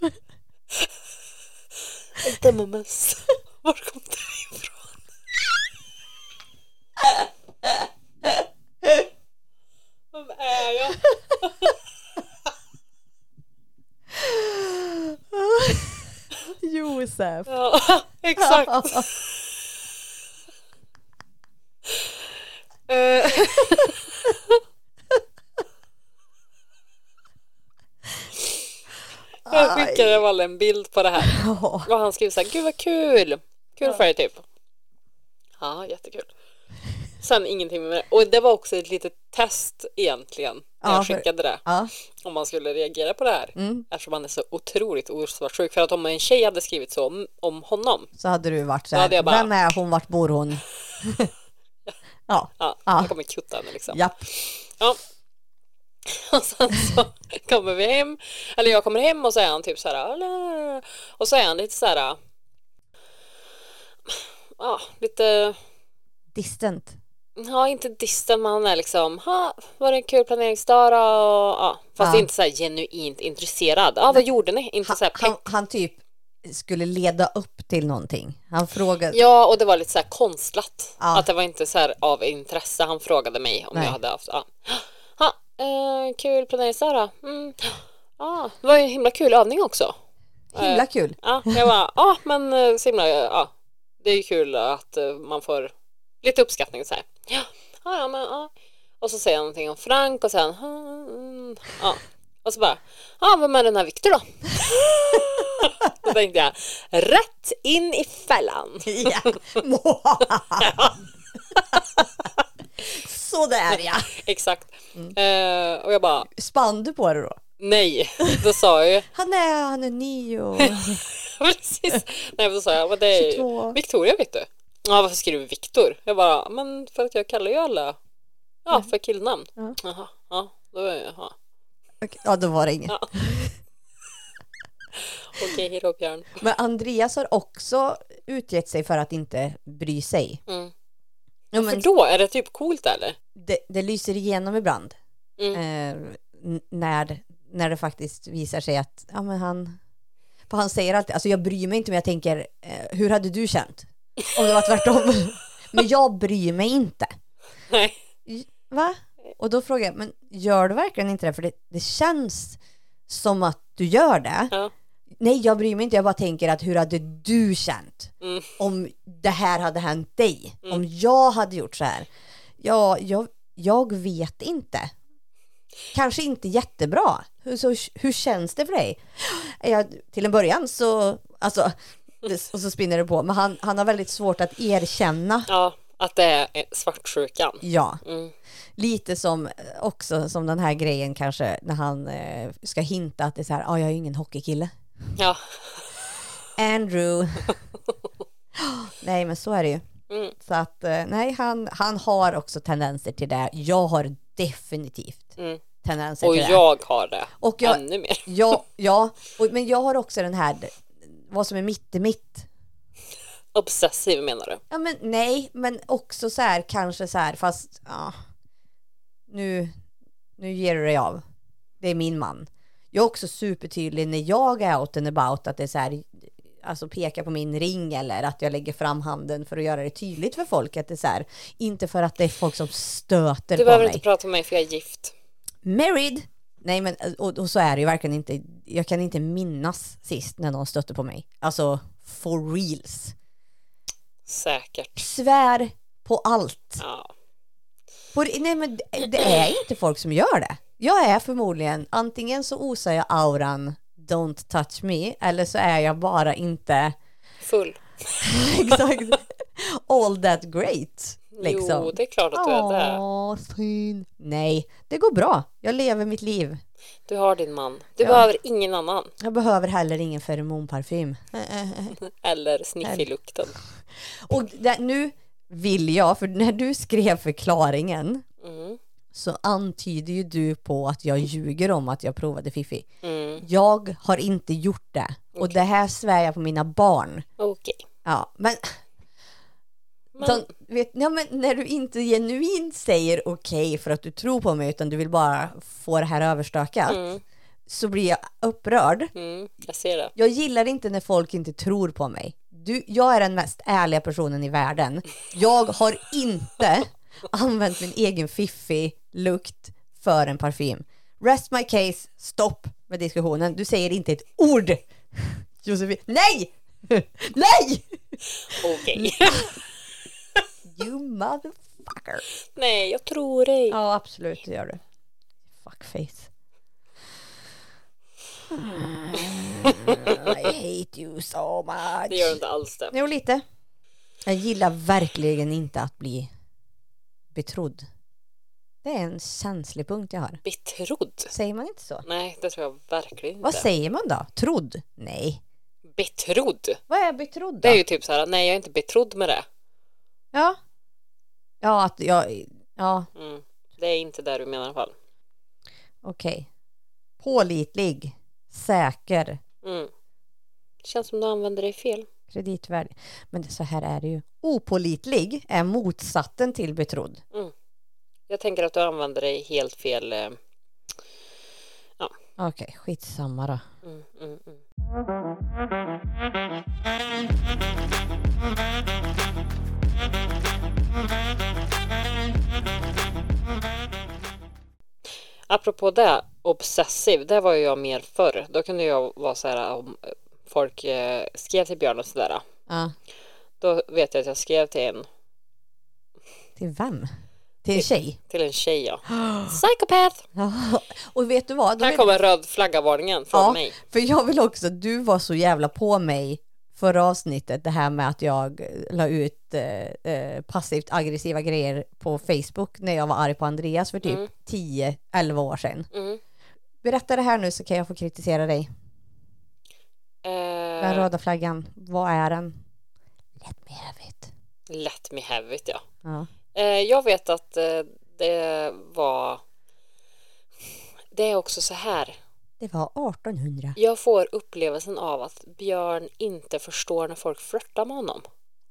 Ett MMS. Var kom det ifrån? Vem är jag?
Josef.
Ja, exakt. Eh, jag skickade Valle en bild på det här
Ja.
och han skrev så här, gud vad kul, kul för dig typ. Ja, jättekul. Sen ingenting med det. Och det var också ett litet test egentligen när
Ja,
jag
för-
skickade det.
Ja. mm,
om man skulle reagera på det här eftersom han är så otroligt osvartsjuk för att om en tjej hade skrivit så om, om honom
Så hade du varit så
Då
här.
hade jag bara-
Vem är hon? Vart bor hon? ja.
ja,
Ja.
jag kommer kutta henne liksom
Japp.
ja. och sen så kommer vi hem eller jag kommer hem och så är han typ så här "Alla." och så är han lite så här ja lite
Distant.
ja inte distant men han är liksom ha var det en kul planeringsdag då? och ja fast
Ja.
inte så här genuint intresserad ja vad gjorde ni inte så här
Han, han typ skulle leda upp till någonting. Han frågade.
Ja, och det var lite så här konstlat.
Ja.
Att det var inte så här av intresse. Han frågade mig om
Nej.
jag hade haft... Ja. Ha, eh, kul planeringsdag då. Mm. Ja, det var ju en himla kul övning också.
Himla kul.
Ja, jag bara, ja men eh, så himla, ja. Det är ju kul att eh, man får lite uppskattning så här. Ja, ja, ja men ja. Och så säger han någonting om Frank och sen, "Mm, mm." ja. Och så bara, ja vem är den här Viktor då? Då tänkte jag, rätt in i fällan.
Ja. Sådär ja.
Exakt. Eh, och jag bara,
Spann du på det då?
nej, då sa jag ju,
Han är, han är ny och...
precis, nej då sa jag, vad det är ju
22.
Victoria vet du. Ja, varför skriver du Viktor? Jag bara, men för att jag kallar ju alla, ja, för killnamn.
Mm. Ja.
Jaha, ja, då är jag, ja.
Okej, Ja, då var det inget.
Ja. Okej, hej då Björn.
Men Andreas har också utgett sig för att inte bry sig.
Mm.
Ja,
För
men
då, är det typ coolt eller?
det, det lyser igenom ibland.
Mm.
Eh, n- när, när det faktiskt visar sig att ja, men han... För han säger alltid, alltså jag bryr mig inte men jag tänker, eh, hur hade du känt? Om det var tvärtom. men jag bryr mig inte.
Nej.
Va? Och då frågar jag, men gör du verkligen inte det? För det, det känns som att du gör det.
Ja.
Nej, jag bryr mig inte. Jag bara tänker att hur hade du känt
Mm.
om det här hade hänt dig? Om jag hade gjort så här? Ja, jag, jag vet inte. Kanske inte jättebra. Hur, så, hur känns det för dig? Jag, till en början så, alltså, Och så spinner det på. Men han, han har väldigt svårt att erkänna.
Ja, att det är eh, svartsjukan.
Ja,
Mm.
lite som eh, också som den här grejen kanske när han eh, ska hinta att det är så här, ah, jag är ju ingen hockeykille.
Ja.
Andrew. nej, men så är det ju.
Mm.
Så att eh, nej, han, han har också tendenser till det. Jag har definitivt
Mm.
tendenser
Och
till det.
jag Mm. har det
Och jag,
ännu mer.
ja, ja, och, men jag har också den här, vad som är mitt i mitt.
Obsessiv menar du?
Ja, men nej, men också så här kanske så här, fast ja, nu, nu ger du dig av. Det är min man. Jag är också supertydlig när jag är out and about att det är så här, alltså peka på min ring eller att jag lägger fram handen för att göra det tydligt för folk att det är så här, inte för att det är folk som stöter
Du
på
behöver
mig.
inte prata med mig för jag är gift.
Married! Nej men, och, och så är det ju verkligen inte. Jag kan inte minnas sist när någon stötte på mig. Alltså, for reals.
Säkert.
Svär på allt.
Ja.
På, nej men det- det är inte folk som gör det. Jag är förmodligen, antingen så osar jag auran don't touch me eller så är jag bara inte
Full.
exakt all that great. Liksom.
Jo, det är klart att du är det.
Åh, synd. Nej, det går bra. Jag lever mitt liv.
Du har din man. Du behöver ingen annan.
Jag behöver heller ingen feromonparfym.
Eller sniffilukten.
Och det, nu vill jag, för när du skrev förklaringen
Mm.
så antyder ju du på att jag ljuger om att jag provade Fifi.
Mm.
Jag har inte gjort det. Och det här svär jag på mina barn.
Okej.
Ja, men,
Men
De, vet, ja, men när du inte genuint säger okej för att du tror på mig utan du vill bara få det här överstökat
Mm.
så blir jag upprörd.
mm, jag ser det.
Jag gillar inte när folk inte tror på mig. Du, jag är den mest ärliga personen i världen. Jag har inte använt min egen fiffig lukt för en parfym. Rest my case, stopp med diskussionen. Du säger inte ett ord. Josefin, nej! Nej!
Okej.
Mm. You motherfucker.
Nej, jag tror dig.
Ja, absolut, det gör du. Fuckface. Ah, I hate you so much.
Det gör du inte alls det.
Jo, lite. Jag gillar verkligen inte att bli betrodd. Det är en känslig punkt jag har.
Betrodd?
Säger man inte så?
Nej, det tror jag verkligen
Vad
inte.
säger man då? Trodd? Nej.
Betrodd?
Vad är betrodd
Det
då?
är ju typ så här, nej jag är inte betrodd med det.
Ja. Ja, att jag... Ja,
Mm. Det är inte det du menar i alla fall.
okej. Pålitlig. Säker.
Mm. Det känns som du använder dig fel.
kreditvärdig. Men det, så här är det ju. Opålitlig är motsatsen till betrodd.
Jag tänker att du använder dig helt fel. eh,
Okej, skitsamma då.
Mm, mm, mm. Apropå det, obsessiv, det var ju jag mer förr. Då kunde jag vara så här om eh, folk eh, skrev till Björn och sådär.
Ja.
Då vet jag att jag skrev till en,
Till vem? Till en tjej?
till en tjej ja. Psychopath!
Ja. Och vet du vad? Då
Här
vill-
kommer röd flagga-varningen från
ja,
mig.
För jag vill också, du var så jävla på mig förra avsnittet, det här med att jag la ut eh, eh, passivt aggressiva grejer på Facebook när jag var arg på Andreas för typ
Mm.
10-11 år sedan.
Mm.
Berätta det här nu så kan jag få kritisera dig. Den
Eh,
röda flaggan, vad är den? Let me have it.
Eh, let me have it ja.
Ja.
Eh, jag vet att eh, det var... Det är också så här.
Det var 1800.
Jag får upplevelsen av att Björn inte förstår när folk flörtar med honom.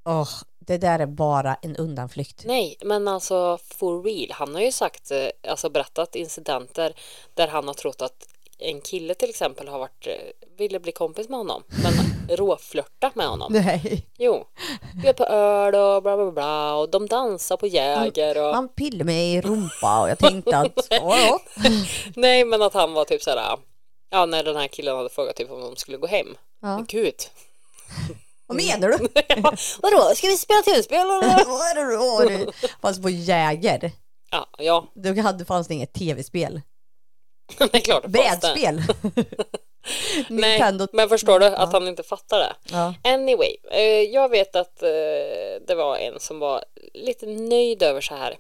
Åh, det där är bara en undanflykt.
Nej, men alltså for real. Han har ju sagt, eh, alltså berättat incidenter där han har trott att en kille till exempel har varit, eh, ville bli kompis med honom, men råflörtat med honom.
Nej.
Jo, bjöd på öl och bla bla bla och de dansar på Jäger och...
Han pillade mig i rumpa och jag tänkte att ja, ja.
Nej men att han var typ såhär Ja när den här killen hade frågat typ om de skulle gå hem
Ja.
Men Gud
vad menar du?
Vadå ska vi spela tv-spel eller?
Vad är det du har? Fast på Jäger,
Ja, ja
då hade, fanns det inget tv-spel.
det är klart det fanns det.
Brädspel.
äh, Nej,
Nintendo.
men förstår du
Ja.
att han inte fattar det?
Ja.
Anyway, eh, jag vet att eh, det var en som var lite nöjd över så här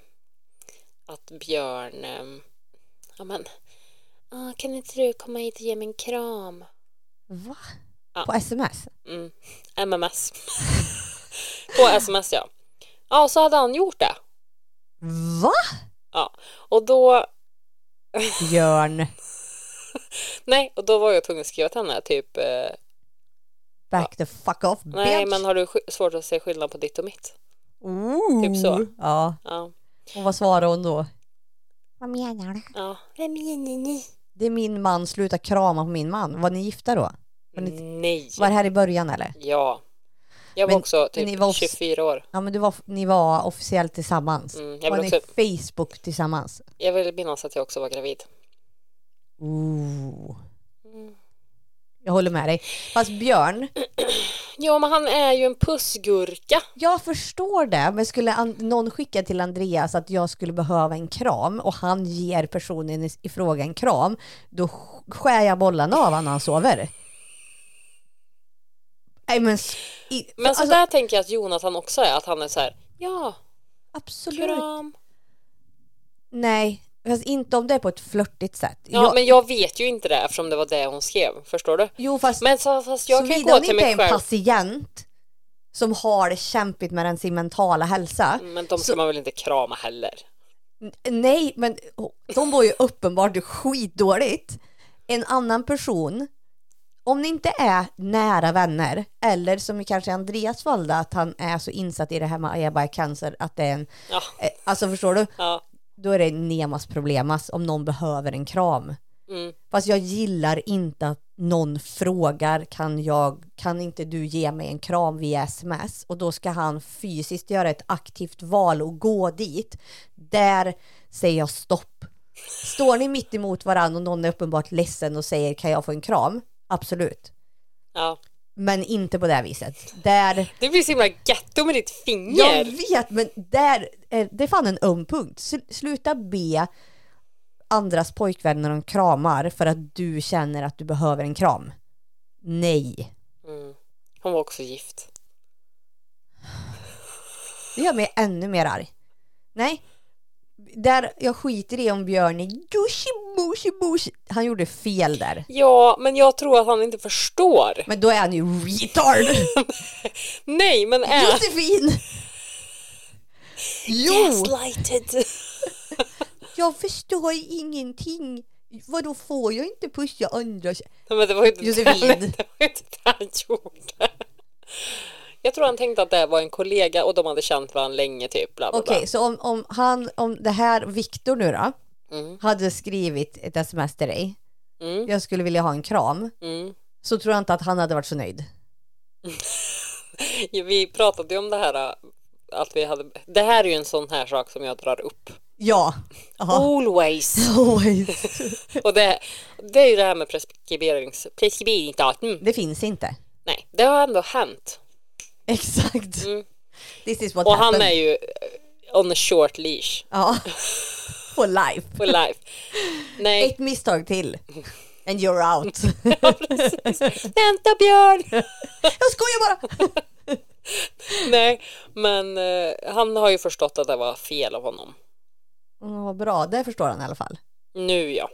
att Björn, eh, ja men, ah, kan inte du komma hit och ge mig en kram?
Va?
Ja.
På sms?
Mm, MMS. På sms ja. Ja, och så hade han gjort det.
Va?
Ja, och då,
Björn
nej, och då var jag tvungen att skriva till henne typ, eh,
back the fuck off bitch.
nej men har du sk- svårt att se skillnad på ditt och mitt?
Ooh.
typ så.
Ja.
Ja,
Och vad svarar hon då? Vad menar du?
ja. Vem menar ni?
Det är min man, sluta krama på min man. Var ni gifta då? Var, ni,
Mm, Nej.
var det här i början eller?
Ja. Jag var
Men-
också
men ni
typ
var off-
24 år.
Ja men du var, ni var officiellt tillsammans.
Mm, jag,
var
vill
ni
också,
Facebook tillsammans?
jag vill minnas att jag också var gravid.
Ooh. Jag håller med dig. Fast Björn,
Ja, men han är ju en pussgurka.
jag förstår det, men skulle an- någon skicka till Andreas att jag skulle behöva en kram och han ger personen i, i fråga en kram, då sk- skär jag bollarna av honom när han sover. Nej men... s- I, alltså,
Men så där tänker jag att Jonathan också är, att han är så här, ja,
absolut.
kram.
Nej, fast inte om det är på ett flörtigt sätt.
Ja,
Jag-
men jag vet ju inte det eftersom det var det hon skrev, förstår du?
Jo fast
Men så, fast jag kan ju
Såvida
gå
hon
till
inte är
mig
en
själv.
patient som har det kämpigt med den sin mentala hälsa.
Men de ska
så-
man väl inte krama heller?
N- Nej, men oh, de mår ju uppenbart skitdåligt. En annan person, om ni inte är nära vänner eller som i kanske Andreas valde att han är så insatt i det här med ayabai cancer att det är en,
Ja,
eh, alltså förstår du,
ja.
då är det nemas problemas om någon behöver en kram.
Mm.
Fast jag gillar inte att någon frågar kan, jag, kan inte du ge mig en kram via sms? Och då ska han fysiskt göra ett aktivt val och gå dit. Där säger jag stopp. Står ni mitt emot varandra och någon är uppenbart ledsen och säger kan jag få en kram? Absolut.
ja.
Men inte på det här viset. Där,
Det blir så himla getto med ditt
jag
finger.
vet men där, är- det är fan en öm punkt. Sl- Sluta be andras pojkvänner om kramar för att du känner att du behöver en kram. Nej.
Mm. Hon var också gift.
Det gör mig ännu mer arg. Nej. Där jag skiter i om Björn är dushi bushi bushi. Han gjorde fel där.
Ja, men jag tror att han inte förstår.
Men då är han ju retard.
Nej, men är...
Josefin! Jo!
Gaslighted.
Jag förstår ingenting. Vadå får jag inte pusha andra?
Nej, men det var ju inte
Josefin.
Det, det var ju inte det han gjorde. Jag tror han tänkte att det var en kollega och de hade känt varandra länge typ. Bla, bla,
Okej, så om, om han, om det här, Viktor nu då,
bla. Mm,
hade skrivit ett sms till dig.
mm,
Jag skulle vilja ha en kram.
mm.
Så tror jag inte att han hade varit så nöjd.
Ja, Vi pratade ju om det här äh, att vi hade. Det här är ju en sån här sak som jag drar upp.
Ja. Aha.
Always.
Oh, Always.
Och det, det är ju det här med preskriberings, preskriberingsdatum.
Det finns inte.
Nej, det har ändå hänt.
Exakt.
Mm.
This is what
Och
happened.
han är ju eh, on a short leash
Ja. For life.
for life. Nej.
Ett misstag till. And you're out.
Vänta Björn!
jag skojar bara!
Nej, men eh, han har ju förstått att det var fel av honom.
Mm, vad bra, det förstår han i alla fall.
Nu ja.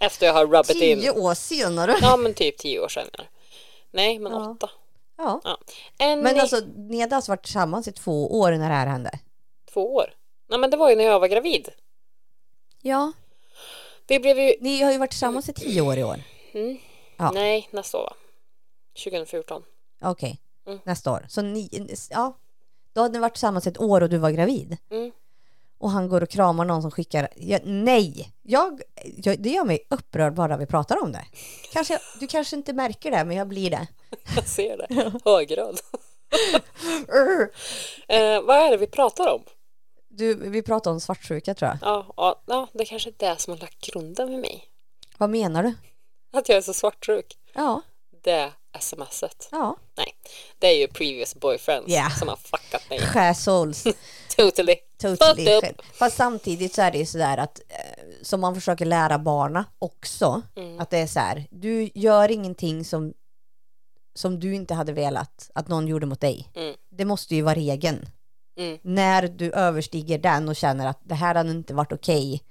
Efter jag har rubbat
Tio
in.
år senare.
Ja, men typ tio år senare. Nej, men
Ja.
åtta.
Ja.
Ja. En
Men
i
alltså, ni hade alltså varit tillsammans i två år när det här hände?
två år. Nej, men det var ju när jag var gravid.
Ja.
Vi blev ju...
Ni har ju varit tillsammans i tio år i år.
Mm.
Ja.
Nej, nästa år va? 2014.
Okej,
Mm.
nästa år. Så ni, ja. Då hade ni varit tillsammans ett år och du var gravid.
Mm.
Och han går och kramar någon som skickar, ja, nej! Jag, jag, det gör mig upprörd bara vi pratar om det. Kanske, du kanske inte märker det, men jag blir det.
Jag ser det. Högröd.
Urr.
Eh, vad är det vi pratar om?
Du, vi pratade om svartsjuka tror jag.
Ja, ja, ja, det kanske är det som har lagt grunden för mig.
Vad menar du?
Att jag är så svartsjuk.
Ja,
det är smset.
Ja,
Nej, det är ju previous boyfriends
Ja.
som har fuckat mig.
skärsols.
Totally.
Totally
Fucked up.
själv. Fast samtidigt så är det ju sådär att eh, som man försöker lära barna också
Mm.
att det är så här. Du gör ingenting som som du inte hade velat att någon gjorde mot dig.
Mm.
Det måste ju vara regeln.
Mm.
När du överstiger den och känner att det här hade inte varit okej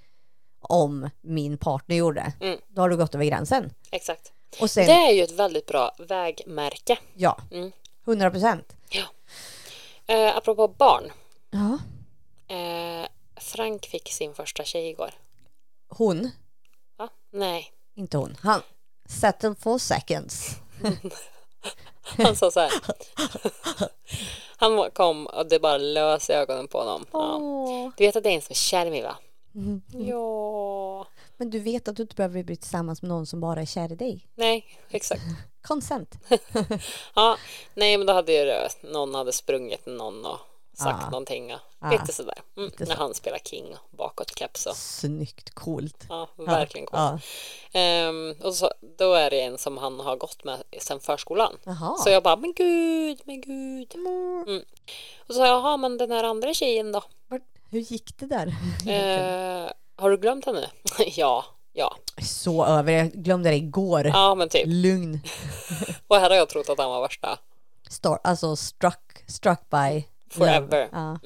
om min partner gjorde.
Mm.
Då har du gått över gränsen.
Exakt.
Och sen,
Det är ju ett väldigt bra vägmärke.
ja,
Mm.
100 procent.
Eh, apropå barn.
Ja.
Eh, Frank fick sin första tjej igår.
Hon,
Va? Nej.
inte hon, han. Settle for seconds.
Han sa så här. Han kom och det bara lös i ögonen på honom. Ja.
Åh.
Du vet att det är en som är kär i mig va?
Mm.
Ja.
Men du vet att du inte behöver bli tillsammans med någon som bara är kär i dig.
Nej, exakt.
Consent.
Ja, nej men då hade ju det- någon hade sprungit någon och sagt
Ah.
någonting och
Ah.
lite sådär. Mm,
Lite
när
så.
han spelar King och bakåtkeps och
Snyggt, coolt.
ja, verkligen coolt.
Ja.
Ehm, och så, då är det en som han har gått med sedan förskolan.
Jaha.
Så jag bara, men gud, men gud.
Mm.
Mm. Och så sa jag, jaha men den här andra tjejen då?
Vart- Hur gick det där?
Eh, har du glömt henne? ja, ja,
Så över, jag glömde det igår.
ja men typ.
Lugn.
Och här har jag trott att han var värsta.
Star, alltså struck, struck by
Forever.
love. Ja.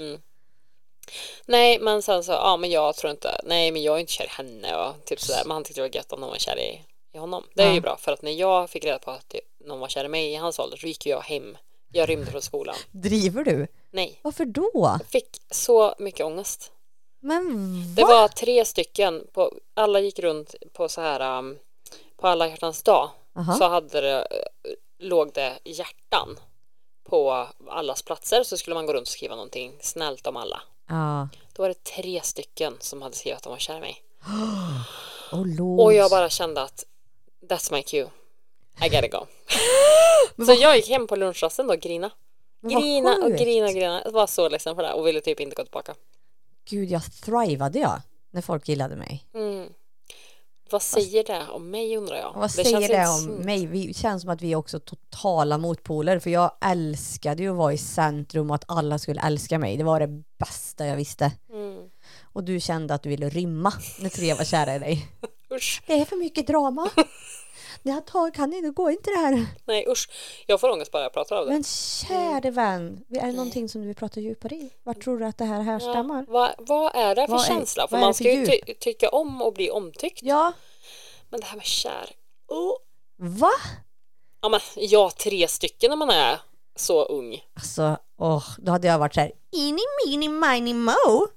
Nej men sen så, ja men jag tror inte, nej men jag är inte kär i henne och typ sådär. Men han tyckte det var gött att någon var kär i, i honom. Det är ju
Ja.
bra för att när jag fick reda på att typ någon var kär i mig i hans ålder så gick ju jag hem. Jag rymde från skolan.
Driver du?
Nej.
Varför då?
Jag fick så mycket ångest.
Men
Det
va?
var tre stycken, på, alla gick runt på så här um, på alla hjärtans dag
Aha.
så hade det, eh, låg det hjärtan på allas platser så skulle man gå runt och skriva någonting snällt om alla.
Ja.
Då var det tre stycken som hade skrivit att de var kär i mig
Och
och
lås.
jag bara kände att that's my cue. I gotta go. så jag gick hem på lunchrasten då och grina.
Men vad
Grina och
sjukt.
grina och grina. Jag var så ledsen för det här och ville typ inte gå tillbaka.
Gud, jag thrivade jag när folk gillade mig.
Mm. Vad säger det om mig undrar jag?
Vad säger
inte
det
sunt.
om mig? Vi känns som att vi är också totala motpoler för jag älskade ju att vara i centrum och att alla skulle älska mig. Det var det bästa jag visste.
Mm.
Och du kände att du ville rymma när tre var kära i dig.
Usch,
Det är för mycket drama. Det här tar, kan inte, går inte det här.
nej usch. Jag får ångest bara jag pratar om det.
Men käre vän, är det någonting som du vill prata djupare i? Vart tror du att det här härstammar?
Vad, vad är det för
Vad är-
känsla? För
vad är
man
det för
ska ju ty- tycka om och bli omtyckt.
Ja,
Men det här med kär. Oh.
va?
Ja, men, ja, tre stycken när man är så ung.
Alltså, åh, då hade jag varit så här, ini mini mini mo.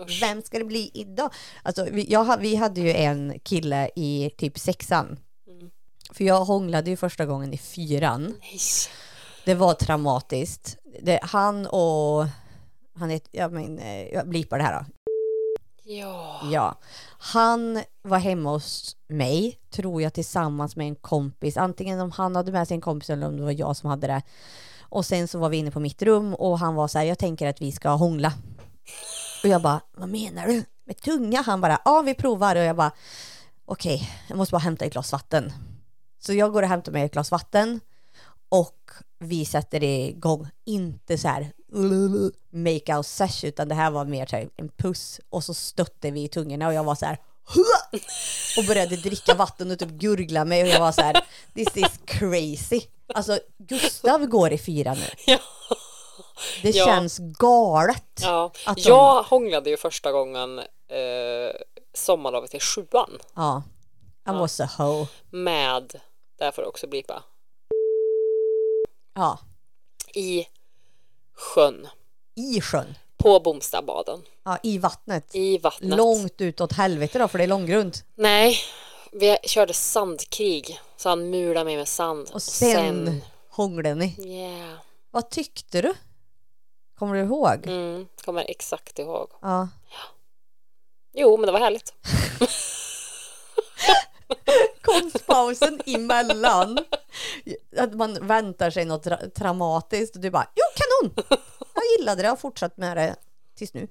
Usch.
Vem ska det bli idag? Alltså, vi, jag, ha- vi hade ju en kille i typ sexan.
Mm.
För jag hånglade ju första gången i fyran.
Nej.
Det var traumatiskt. Det, han och... Han heter, jag, men, eh, jag blipar det här då.
Ja.
Ja. Han var hemma hos mig, tror jag, tillsammans med en kompis. Antingen om han hade med sig en kompis eller om det var jag som hade det. Och sen så var vi inne på mitt rum och han var så här, jag tänker att vi ska hångla. Och jag bara, vad menar du? Med tunga? Han bara, ja vi provar. Och jag bara, okej, jag måste bara hämta ett glas vatten. Så jag går och hämtar mig ett glas vatten och vi sätter igång, inte så här make out sesh, utan det här var mer så här en puss och så stötte vi i tungorna och jag var så här "Hua!" och började dricka vatten och typ gurgla mig och jag var så här this is crazy. Alltså Gustav går i fyra nu.
Ja.
Det
Ja.
känns galet.
ja.
Att de-
Jag hånglade ju första gången eh, sommarlovet i sjuan
Ja. I was a hoe.
med, där får jag också blipa,
Ja.
i sjön
I sjön.
på Bomstabaden
Ja, i vattnet.
i vattnet.
Långt utåt helvete då, för det är långgrunt.
Nej, vi körde sandkrig. Så han mulade mig med sand.
Och sen, hånglade ni.
Yeah.
Vad tyckte du? Kommer du ihåg?
Mm, kommer exakt ihåg.
Ja.
Jo, men det var härligt.
Konstpausen emellan. Att man väntar sig något tra- traumatiskt och du bara, jo kanon! Jag gillade det, jag har fortsatt med det tills nu.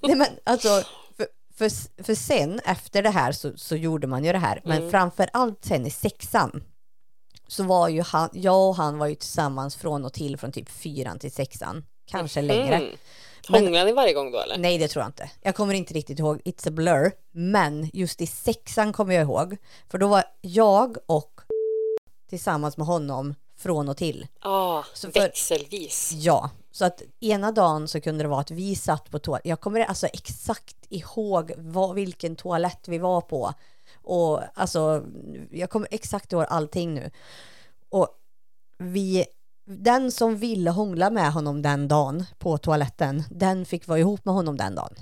Nej men alltså, för, för, för sen efter det här så, så gjorde man ju det här, men framför allt sen i sexan så var ju han, jag och han var ju tillsammans från och till från typ fyran till sexan. Kanske längre. Mm.
Mm. Hånglade ni varje gång då eller?
Nej det tror jag inte. Jag kommer inte riktigt ihåg, it's a blur. Men just i sexan kommer jag ihåg. För då var jag och tillsammans med honom från och till.
Ah,
Så för-
växelvis.
Ja, så att ena dagen så kunde det vara att vi satt på toaletten. Jag kommer alltså exakt ihåg vad, vilken toalett vi var på. Och alltså, jag kommer exakt ihåg allting nu. Och vi, den som ville hångla med honom den dagen på toaletten, den fick vara ihop med honom den dagen.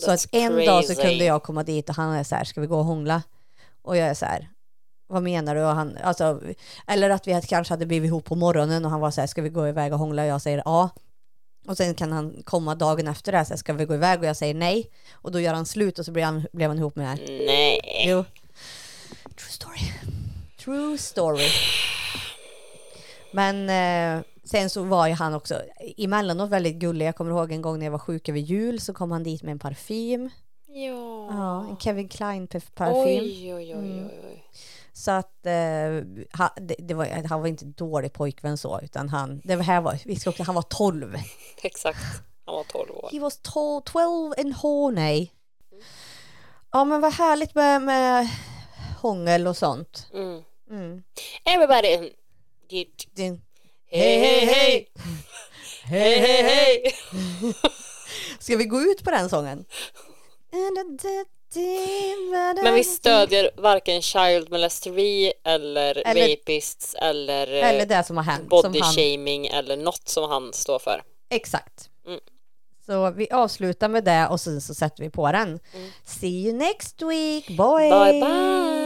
Så att
That's
en dag så
crazy.
kunde jag komma dit och han är så här, ska vi gå och hångla? Och jag är så här, vad menar du? Och han, alltså, eller att vi hade- kanske hade blivit ihop på morgonen och han var så här, ska vi gå iväg och hångla? Och jag säger ja. Och sen kan han komma dagen efter det här, så här, ska vi gå iväg? Och jag säger nej. Och då gör han slut och så blir han, blev han ihop med det här.
Nej.
Jo. True story. True story. Men eh, sen så var ju han också emellanåt väldigt gullig. Jag kommer ihåg en gång när jag var sjuk över jul så kom han dit med en parfym.
Ja.
Ja, Mm. en Kevin Klein perf- parfym.
Oj, oj, oj, oj, oj.
Så att eh, han, det, det var, han var inte dålig pojkvän så, utan han, det var här var, vi ska också, han var 12.
Exakt. Han var 12 år.
He was tall, 12 and horny. Ja men vad härligt med, med hångel och sånt.
Mm.
Mm.
Everybody get
Det-
Hej, hej, hej! Hej, hej, hej!
Ska vi gå ut på den sången?
Men vi stödjer varken child molesteri eller,
Eller-
rapists eller, eh,
Eller det som har hänt. som
body
han-
shaming eller något som han står för.
Exakt.
Mm.
Så vi avslutar med det och sen så sätter vi på den. See you next week boys!
Mm. Bye bye!